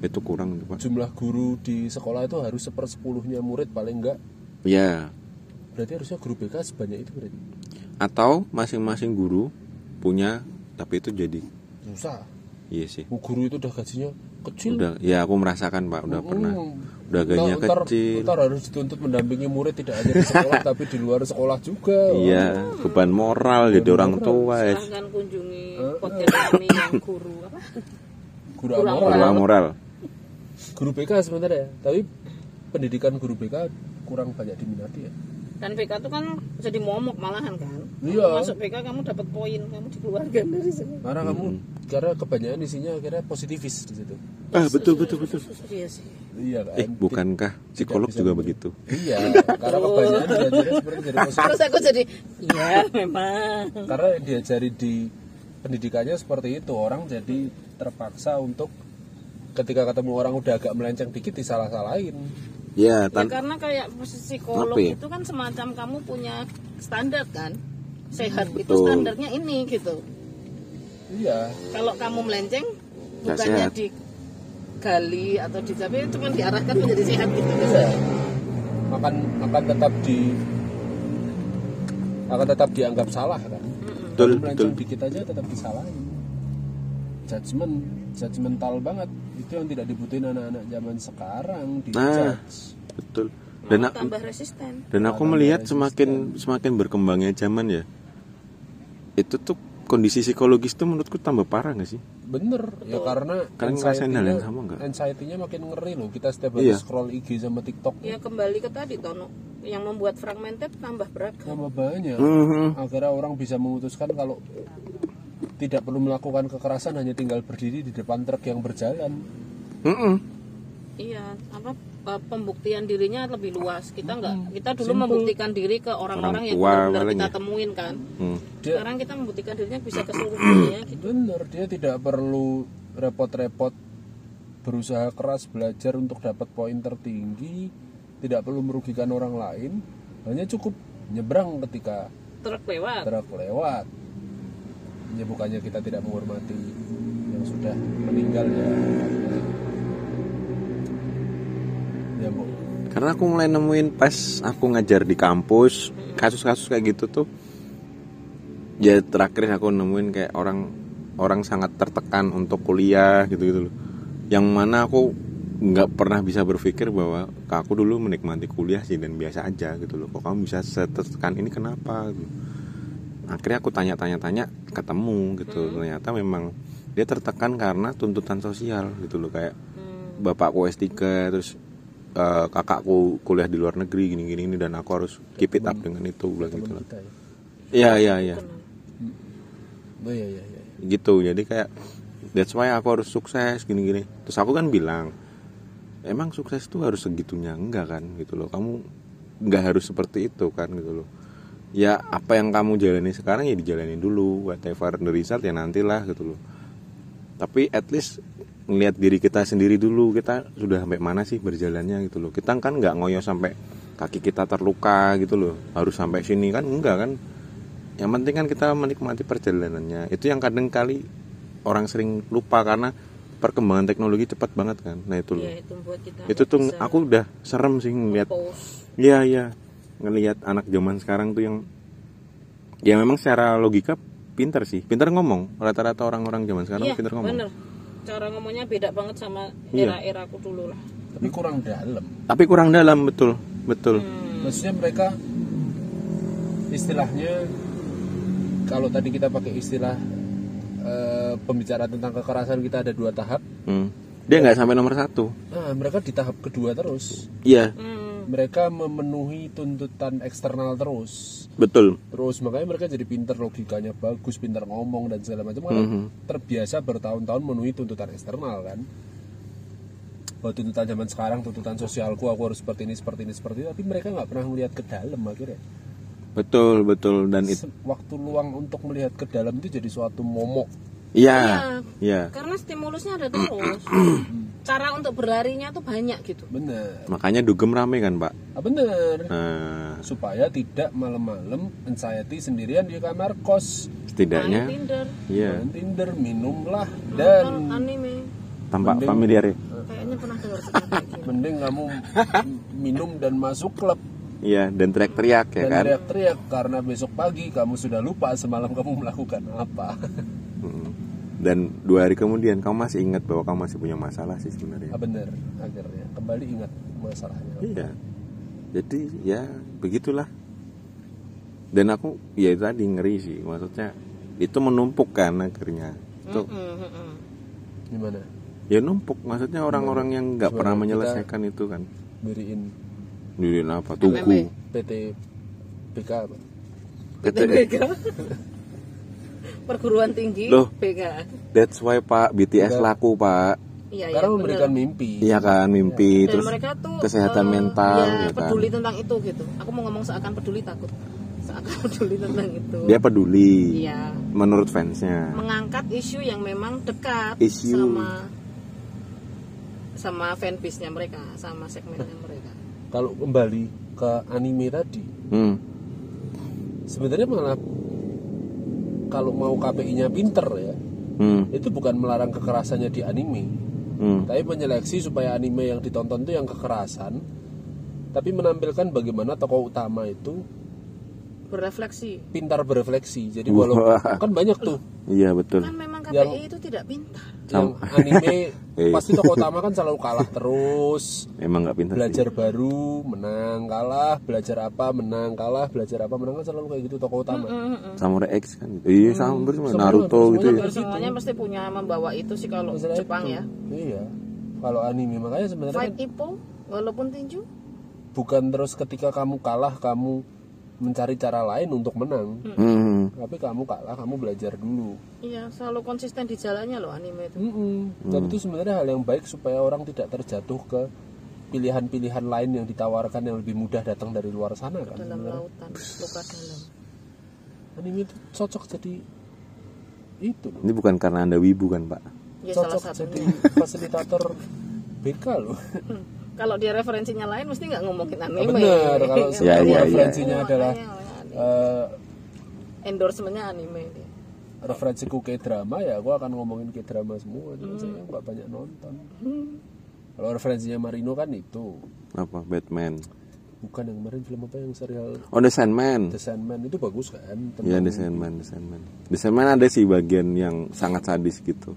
Itu kurang itu pak. jumlah guru di sekolah itu harus sepersepuluhnya murid paling enggak. Ya, Berarti harusnya guru BK sebanyak itu berarti. atau masing-masing guru punya, tapi itu jadi, Susah. iya sih. Mau Oh, guru itu udah gajinya kecil. Udah, ya aku merasakan pak, udah pernah. Mm. Udah gajinya Ntar- kecil. ntar harus dituntut mendampingi murid tidak hanya di sekolah tapi di luar sekolah juga. Iya, beban moral jadi orang tua ya. silahkan kunjungi eh. podcast kami yang guru apa Guru Guru amoral. moral. Guru BK sebenarnya, ya, tapi pendidikan guru BK kurang banyak diminati ya. dan PK itu kan jadi momok malahan kan Iya. Kamu masuk PK kamu dapat poin kamu dikeluarkan dari sini Karena kamu karena kebanyakan isinya akhirnya positivis di situ. Ah betul betul betul. iya sih Iya kan? Eh bukankah psikolog juga begitu? Iya, karena kebanyakan diajarnya sebenarnya jadi positif. terus aku jadi iya memang Karena diajari di pendidikannya seperti itu, orang jadi terpaksa untuk ketika ketemu orang udah agak melenceng dikit disalah-salahin. Ya, Ya, tan- karena kayak psikolog Apa ya? itu kan semacam kamu punya standar kan. Sehat itu Betul. standarnya ini gitu. Iya, Kalau kamu melenceng Nggak bukannya sehat. digali atau dicapai cuma diarahkan menjadi sehat gitu bisa. akan akan tetap di akan tetap dianggap salah kan. betul betul. Melenceng dikit aja tetap disalahin. Judgment, judgmental banget. Itu yang tidak dibutuhin anak-anak zaman sekarang di Nah. judge. betul dan Malah a- tambah resisten. dan aku melihat semakin semakin berkembangnya zaman ya itu tuh kondisi psikologis tuh menurutku tambah parah nggak sih Bener, ya karena Kalian Kan ngerasain hal yang sama nggak? anxiety-nya makin ngeri loh. Kita setiap hari Iya. scroll IG sama TikTok. Ya kembali ke tadi Tono. yang membuat fragmented tambah Oh. beragam nama banyak Mhm. agar orang bisa memutuskan kalau tidak perlu melakukan kekerasan hanya tinggal berdiri di depan truk yang berjalan Mm-mm. iya apa eh, pembuktian dirinya lebih luas kita nggak kita dulu membuktikan diri ke Orang orang-orang yang tua benar paling kita ya. temuin kan Hmm. Dia- sekarang kita membuktikan dirinya bisa ke seluruh dunia gitu bener dia tidak perlu repot-repot berusaha keras belajar untuk dapat poin tertinggi tidak perlu merugikan orang lain hanya cukup nyebrang ketika truk lewat truk lewat ya bukannya kita tidak menghormati yang sudah meninggal ya ya bu Karena aku mulai nemuin pas aku ngajar di kampus kasus-kasus kayak gitu tuh. Ya terakhir aku nemuin kayak orang orang sangat tertekan untuk kuliah gitu-gitu loh. Yang mana aku nggak pernah bisa berpikir bahwa aku dulu menikmati kuliah sih dan biasa aja gitu loh. Kok kamu bisa tertekan ini kenapa? Gitu. Akhirnya aku tanya-tanya-tanya ketemu gitu. Ternyata memang dia tertekan karena tuntutan sosial gitu loh kayak Hmm, bapakku S3 terus eh, kakakku kuliah di luar negeri gini-gini ini, dan aku harus keep it up dengan itu bilang gitu teman lah. kita ya Iya iya iya. oh iya iya iya Gitu. Jadi kayak that's why aku harus sukses gini-gini. Terus aku kan bilang emang sukses tuh harus segitunya enggak kan gitu loh. Kamu nggak harus seperti itu kan gitu loh. Ya apa yang kamu jalani sekarang ya dijalani dulu whatever the result ya nantilah gitu loh. tapi at least ngelihat diri kita sendiri dulu kita sudah sampai mana sih berjalannya gitu loh kita kan nggak ngoyo sampai kaki kita terluka gitu loh harus sampai sini kan enggak kan yang penting kan kita menikmati perjalanannya itu yang kadang kali orang sering lupa karena perkembangan teknologi cepat banget kan nah itu loh ya itu buat kita itu nggak tuh bisa aku udah serem sih ngeliat pause. Iya iya ngelihat anak zaman sekarang tuh yang ya memang secara logika pinter sih pinter ngomong rata-rata orang-orang zaman sekarang iya pinter ngomong bener cara ngomongnya beda banget sama Iya. era-era aku dulu lah tapi kurang dalam tapi kurang dalam betul betul maksudnya mereka istilahnya kalau tadi kita pakai istilah eh, pembicaraan tentang kekerasan kita ada dua tahap Hmm. dia nggak sampai nomor satu nah mereka di tahap kedua terus iya Hmm, mereka memenuhi tuntutan eksternal terus betul terus makanya mereka jadi pinter logikanya bagus pinter ngomong dan segala macam karena terbiasa bertahun-tahun memenuhi tuntutan eksternal kan bahwa tuntutan zaman sekarang tuntutan sosialku aku harus seperti ini seperti ini seperti ini tapi mereka nggak pernah melihat ke dalam akhirnya betul betul dan itu Se- waktu luang untuk melihat ke dalam itu jadi suatu momok iya iya karena stimulusnya ada terus cara untuk berlarinya tuh banyak gitu bener Iya. makanya dugem rame kan pak ah, bener nah, supaya tidak malam-malam anxiety sendirian di kamar kos main setidaknya Tinder iya Main Tinder minumlah nonton dan anime tampak familiar ya kayaknya pernah dengar cerita kayak gini. mending kamu minum dan masuk klub iya dan teriak-teriak ya dan kan teriak-teriak karena besok pagi kamu sudah lupa semalam kamu melakukan apa Mm. dan dua hari kemudian kamu masih ingat bahwa kamu masih punya masalah sih sebenarnya ah, bener akhirnya kembali ingat masalahnya Iya. Jadi ya begitulah. Dan aku ya itu tadi ngeri sih. Maksudnya itu menumpuk kan akhirnya. Itu Hmm, hmm, hmm. gimana ya numpuk. Maksudnya orang-orang yang nggak Sebenarnya pernah kita- menyelesaikan itu kan. beriin Diriin apa? Tugu. PT BK apa? Itu- perguruan tinggi Loh. BK That's why Pak BTS laku Pak. iya iya karena memberikan mimpi Iya kan mimpi dan terus mereka tuh kesehatan eh, mental ya, gitu kan. peduli tentang itu gitu aku mau ngomong seakan peduli takut seakan peduli tentang itu Dia peduli iya menurut fansnya. mengangkat isu yang memang dekat Isu. sama sama fanbase-nya mereka sama segmennya mereka kalau kembali ke anime tadi Hmm. sebenarnya malah kalau mau KPI-nya pinter ya Hmm. itu bukan melarang kekerasannya di anime Hmm. Tapi menyeleksi supaya anime yang ditonton itu yang kekerasan, tapi menampilkan bagaimana tokoh utama itu berefleksi pintar berefleksi. Jadi Wah. walaupun kan banyak tuh Iya betul. kan memang KPI itu tidak pintar yang anime Iya. pasti tokoh utama kan selalu kalah terus, Emang nggak pintar sih. belajar baru menang kalah, belajar apa menang kalah, belajar apa menang kan selalu kayak gitu tokoh utama. Samurai X kan. gitu. Iya, sama persis, Naruto gitu ya. Terus semuanya pasti punya membawa itu sih kalau Masalah Jepang itu. ya Iya. Kalau anime makanya sebenarnya fight ipo walaupun tinju bukan terus ketika kamu kalah kamu mencari cara lain untuk menang Hmm. tapi kamu kalah kamu belajar dulu Iya, selalu konsisten di jalannya loh anime itu. dan itu sebenarnya hal yang baik supaya orang tidak terjatuh ke pilihan-pilihan lain yang ditawarkan yang lebih mudah datang dari luar sana kan Dalam lautan, luka dalam. anime itu cocok jadi itu loh Ini bukan karena anda wibu kan pak? Ya salah cocok jadi satunya. fasilitator BK loh Hmm. Kalau dia referensinya lain mesti nggak ngomongin anime. benar Ah, kalau Iya, sekarang iya, iya. referensinya adalah eh, endorsementnya anime dia. referensiku ke drama ya gue akan ngomongin ke drama semua cuma saya nggak banyak nonton kalau referensinya Marino kan itu Apa Batman? bukan yang kemarin film apa yang serial Oh The Sandman. The Sandman itu bagus kan Ya The Sandman, The Sandman. The Sandman ada sih bagian yang sangat sadis gitu.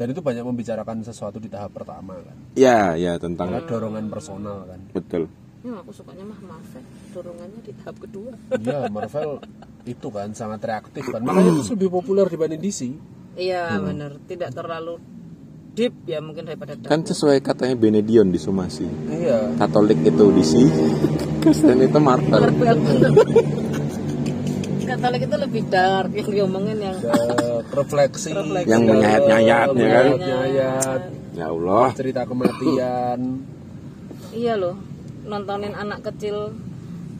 dan itu banyak membicarakan sesuatu di tahap pertama kan Ya, ya tentang karena dorongan personal kan betul. Ya, aku sukanya mah Marvel, dorongannya di tahap kedua. iya Marvel itu kan sangat reaktif kan makanya itu lebih populer dibanding DC Iya Hmm. benar, tidak terlalu deep ya mungkin daripada dark. Kan sesuai katanya Benedion di Sumasi. iya Katolik itu DC, Kristen itu Marvel. Marvel bener. Katolik itu lebih dark yang diomongin yang ada refleksi Refleksi. Yang menyayat-nyayat, ya kan? menyayat Ya Allah. cerita kematian iya loh nontonin anak kecil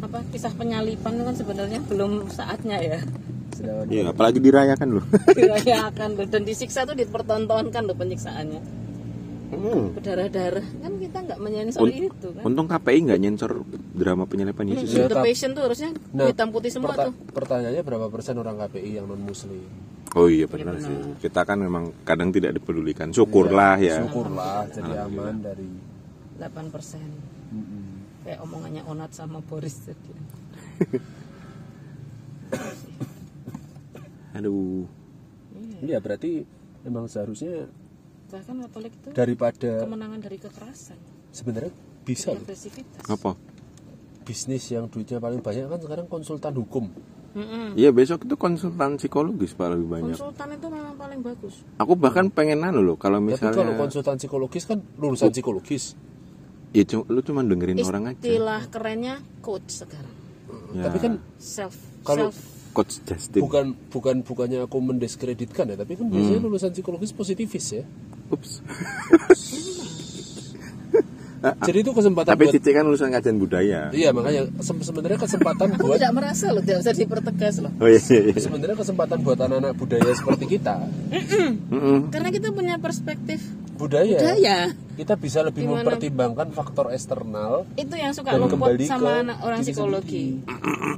apa kisah penyalipan itu kan sebenarnya belum saatnya ya sedangkan Ya, apalagi dirayakan loh. dirayakan loh dan disiksa tuh dipertontonkan loh penyiksaannya berdarah-darah kan kita nggak menyensor itu kan Untung KPI nggak nyensor drama penyelepan Yesus. the patient tuh harusnya Nah, hitam putih semua Perta- tuh pertanyaannya berapa persen orang KPI yang non muslim Oh iya benar sih. Kita kan memang kadang tidak dipedulikan. Iya, Syukurlah ya. syukurlah jadi aman dari 8 persen kayak omongannya Onat sama Boris tadi Aduh. iya berarti memang seharusnya bahkan Katolik itu daripada kemenangan dari kekerasan sebenarnya bisa loh. agresivitas Apa? bisnis yang duitnya paling banyak kan sekarang konsultan hukum Mm-mm. Iya besok itu konsultan psikologis pak lebih banyak. konsultan itu memang paling bagus Aku bahkan pengen anu loh kalau tapi kalau misalnya konsultan psikologis kan lulusan psikologis ya cu- lu cuma dengerin orang aja. istilah kerennya coach sekarang Ya. tapi kan self Kalau- self coach Justin. bukan bukan bukannya aku mendiskreditkan ya tapi Hmm. kan biasanya lulusan psikologis positivis ya Ups. jadi itu kesempatan Nah, Tapi buat Cici kan lulusan kajian budaya. iya makanya se- sebenarnya kesempatan aku buat tidak merasa loh tidak usah dipertegas loh Oh iya iya. iya. sebenarnya kesempatan buat anak-anak budaya seperti kita Mm-mm. Hmm. karena kita punya perspektif Ya. budaya kita bisa lebih Gimana? mempertimbangkan faktor eksternal itu yang suka Dan luput kembali ke sama anak orang diri psikologi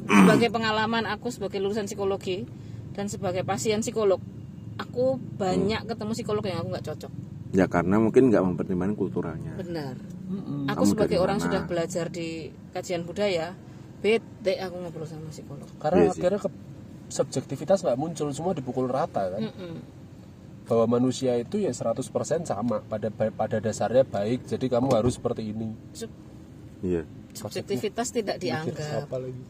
sebagai pengalaman aku sebagai lulusan psikologi dan sebagai pasien psikolog aku Hmm. banyak ketemu psikolog yang aku nggak cocok Ya karena mungkin nggak mempertimbangkan kulturalnya. benar aku Kamu sebagai dari orang mana? sudah belajar di kajian budaya bete aku ngobrol sama psikolog karena Iya sih. akhirnya ke- subjektivitas nggak muncul semua dipukul rata kan Mm-mm. bahwa manusia itu ya 100% sama pada pada dasarnya baik jadi kamu harus seperti ini Sub- Iya. subjektivitas tidak dianggap apa lagi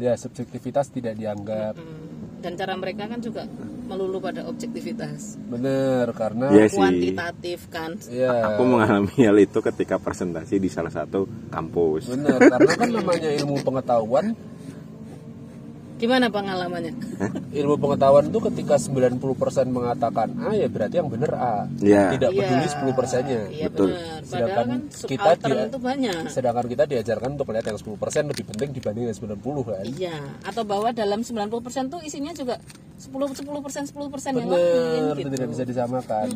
ya subjektivitas tidak dianggap Mm. dan cara mereka kan juga melulu pada objektivitas bener karena Iya sih. kuantitatif kan ya Aku mengalami hal itu ketika presentasi di salah satu kampus. bener karena kan namanya ilmu pengetahuan gimana pengalamannya ilmu pengetahuan itu ketika 90% mengatakan A ya berarti yang bener A Iya. tidak Iya. peduli 10%-nya iya Betul. benar padahal Sedangkan kan kita subaltern dia- itu banyak Sedangkan kita diajarkan untuk melihat yang 10% lebih penting dibanding yang 90 kan. iya atau bahwa dalam 90% tuh isinya juga 10 10% 10% yang lain Bener, itu gitu tidak bisa disamakan.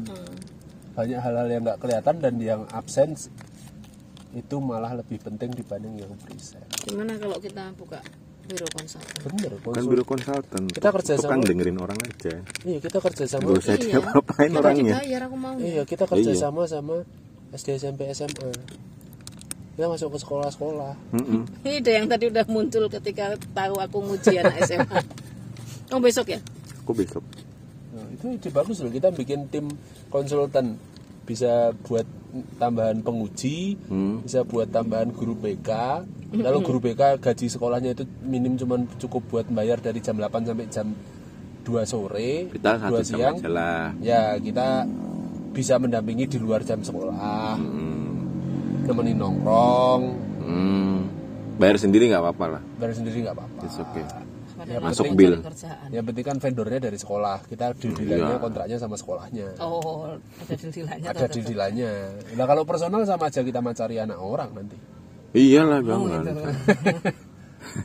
Banyak hal-hal yang nggak kelihatan dan yang absen itu malah lebih penting dibanding yang present. gimana kalau kita buka biro konsultan Bener, Kan konsul- biro konsultan. Kita kerja Itu kan sama- dengerin orang aja. Iya, kita kerja sama. Gak usah Iya. diapa-apain Kita orangnya. dibayar aku mau Iya, kita kerja sama sama SD SMP SMA. Kita masuk ke sekolah-sekolah. Mm-mm. Ini ide yang tadi udah muncul ketika tahu aku nguji anak SMA. Oh besok ya? Aku besok. Nah, itu ide bagus loh. Kita bikin tim konsultan bisa buat tambahan penguji, Hmm. bisa buat tambahan guru BK. Kalau guru BK gaji sekolahnya itu minim cuman cukup buat bayar dari jam 8 sampai jam 2 sore, Kita satu 2 jam siang. aja lah. Ya, kita bisa mendampingi di luar jam sekolah. Nemenin nongkrong, Hmm. Bayar sendiri nggak apa-apa lah. ya. dari sendiri nggak apa-apa It's okay. Iya, Padahal Masuk aku bill. cari kerjaan. yang penting kan vendornya dari sekolah Hmm, kita deal-dealannya iya. kontraknya sama sekolahnya Oh, ada dildilannya. ada deal-dealannya nah kalau personal sama aja kita mencari anak orang nanti Oh, Iyalah gampang. gitu.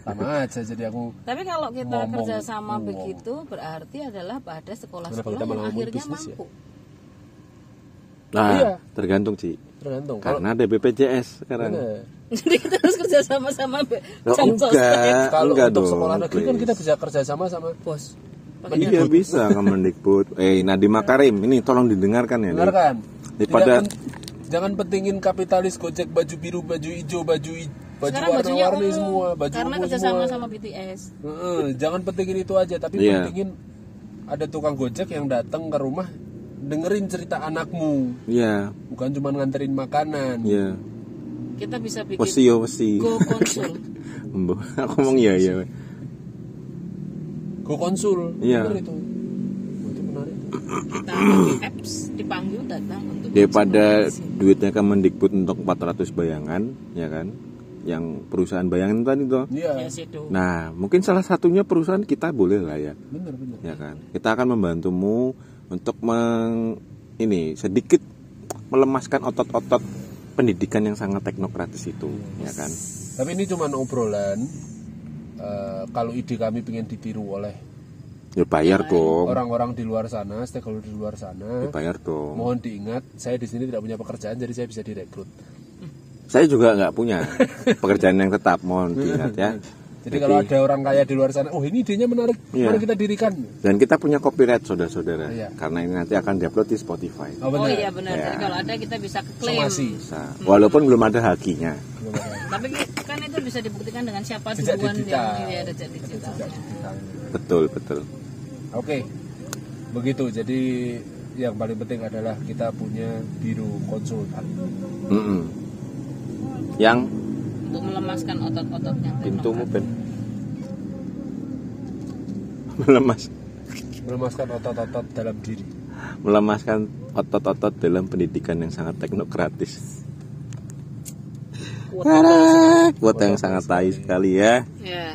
sama aja jadi aku Tapi kalau kita kerja sama begitu berarti adalah pada sekolah-sekolah kita yang malah akhirnya ngomongin bisnis ya? mampu. Nah, Iya. tergantung Ci. tergantung kalau Karena ada BPJS sekarang. Bener. Kan Jadi kita harus kerja sama sama be- Loh, sama sosmed. enggak, kalau enggak untuk dong, sekolah negeri kan please. kita bisa kerjasama sama bos. Iya bisa ke Mendikbud. Eh Nadiem Makarim ini tolong didengarkan ya. benar kan Di pada- jangan, jangan pentingin kapitalis gojek baju biru baju hijau baju i- baju Sekarang bajunya warna-warni ungu, semua baju karena ungu kerja semua. sama sama BTS. Heeh, jangan pentingin itu aja tapi Iya. pentingin ada tukang gojek yang datang ke rumah dengerin cerita anakmu Iya. bukan cuma nganterin makanan Iya. Kita bisa bikin Wesi yo wesi. go konsul. Mbah, Aku ngomong iya iya. go konsul Iya. Bener itu Oh, itu menarik Kita pakai apps dipanggil datang untuk Daripada duitnya ke Mendikbud untuk 400 bayangan, ya kan? Yang perusahaan bayangan tadi tuh. iya ya situ. Nah, mungkin salah satunya perusahaan kita boleh lah ya, bener bener ya kan? Kita akan membantumu untuk meng ini sedikit melemaskan otot-otot pendidikan yang sangat teknokratis itu, ya kan? Tapi ini cuma obrolan. Eh, kalau ide kami pengen ditiru oleh Ya bayar dong, ya orang-orang di luar sana, stakeholder di luar sana, bayar dong. mohon diingat saya di sini tidak punya pekerjaan jadi saya bisa direkrut. Saya juga nggak punya pekerjaan yang tetap, mohon diingat ya. Jadi kalau ada orang kaya di luar sana, oh ini idenya menarik, Iya. mari kita dirikan. Dan kita punya copyright, saudara-saudara, Iya. karena ini nanti akan diupload di Spotify. Oh, Oh benar. iya benar. Jadi kalau ada kita bisa klaim. Somasi. Bisa. Walaupun belum ada hakinya. Tapi kan itu bisa dibuktikan dengan siapa Jejak duluan digital. yang dia ada jadi digitalnya. Betul, betul. Oke, begitu. Jadi yang paling penting adalah kita punya biru konsultan. Mm-mm. Yang Untuk melemaskan otot-ototnya. pintumu ben melemas Melemaskan otot-otot dalam diri. melemaskan otot-otot dalam pendidikan yang sangat teknokratis Kuat. Tara, kuota yang sangat tai sekali ya Ya.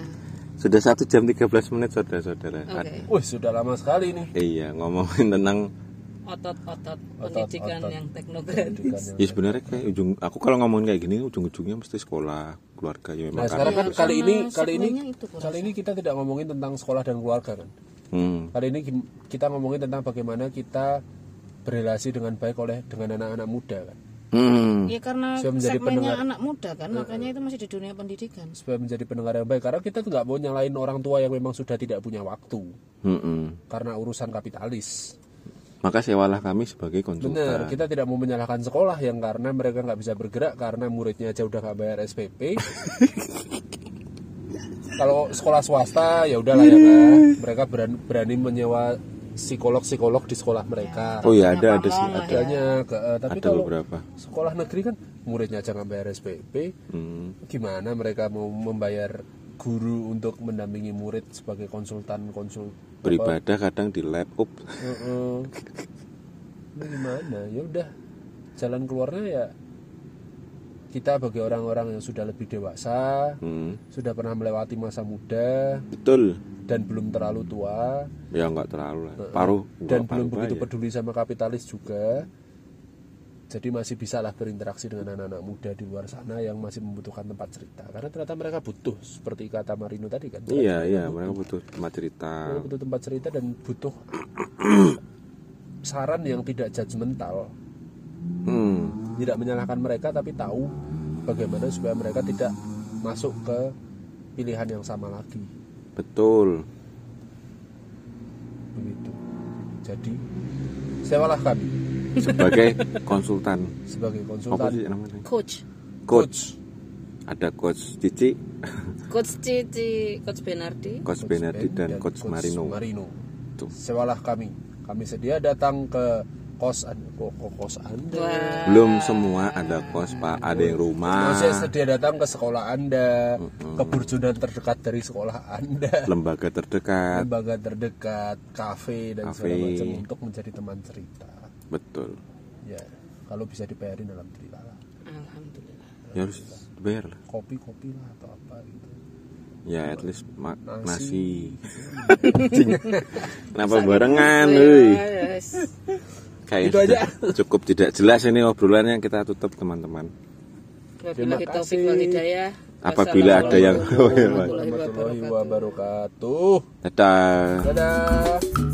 sudah satu jam 13 menit saudara-saudara Oke. Wih sudah lama sekali ini. iya ngomongin tentang Otot-otot pendidikan yang teknokratis. ya sebenarnya kayak ujung aku kalau ngomongin kayak gini ujung-ujungnya mesti sekolah keluarga ya memang Nah sekarang karena- kan kali ini kali ini sebelumnya itu, Bos. kali ini kita tidak ngomongin tentang sekolah dan keluarga kan. Hmm, Kali ini gim- kita ngomongin tentang bagaimana kita berrelasi dengan baik oleh dengan anak-anak muda kan. hmm, Ya karena Saya menjadi segmennya pendengar. Eh, anak muda kan, makanya itu masih di dunia pendidikan. Supaya menjadi pendengar yang baik karena kita tuh nggak mau nyalain orang tua yang memang sudah tidak punya waktu hmm, hmm. karena urusan kapitalis. maka sewalah kami sebagai konsultan Benar, kita tidak mau menyalahkan sekolah yang karena mereka nggak bisa bergerak karena muridnya aja udah nggak bayar SPP. Kalau sekolah swasta ya udahlah ya kan, mereka berani, berani menyewa psikolog-psikolog di sekolah mereka. oh ya ada ada sih ada Adanya, ke- eh, tapi ada kalau beberapa sekolah negeri kan muridnya aja nggak bayar SPP, Hmm. gimana mereka mau membayar guru untuk mendampingi murid sebagai konsultan konsul beribadah kadang di lab up Heeh. Ini gimana? Ya udah, jalan keluarnya ya kita bagi orang-orang yang sudah lebih dewasa, Hmm, sudah pernah melewati masa muda betul dan belum terlalu tua ya nggak terlalu lah paruh paruh dan belum begitu baya. peduli sama kapitalis juga. Jadi masih bisa lah berinteraksi dengan anak-anak muda di luar sana yang masih membutuhkan tempat cerita. Karena ternyata mereka butuh seperti kata Marino tadi kan. iya iya mereka butuh tempat cerita Mereka butuh tempat cerita dan butuh saran yang tidak judgmental. hmm. tidak menyalahkan mereka tapi tahu bagaimana supaya mereka tidak masuk ke pilihan yang sama lagi betul begitu jadi sewalah kami sebagai konsultan sebagai apa konsultan sih namanya Coach, coach ada coach Cici coach Cici, coach Benardi. coach Benedi dan coach Marino Tuh. sewalah kami kami sedia datang ke kos an- ko- ko- kos anda belum semua ada coach pak ada yang rumah Maksudnya sedia datang ke sekolah anda ke burjunan terdekat dari sekolah anda lembaga terdekat lembaga terdekat kafe dan segala Kafe. macam untuk menjadi teman cerita betul ya kalau bisa dibayarin dalam cerita lah Alhamdulillah. ya harus bayar lah kopi kopi lah atau apa gitu ya at least ma- nasi, Nasi. Anjing. kenapa barengan Gitu woi Yes. kayak Itu aja. sudah cukup tidak jelas ini obrolannya kita tutup teman-man Wabillahi Terima taufik kasih. wal hidayah. Apabila ada yang- Iya, Wassalamualaikum warahmatullahi warahmatullahi wabarakatuh. wabarakatuh dadah dadah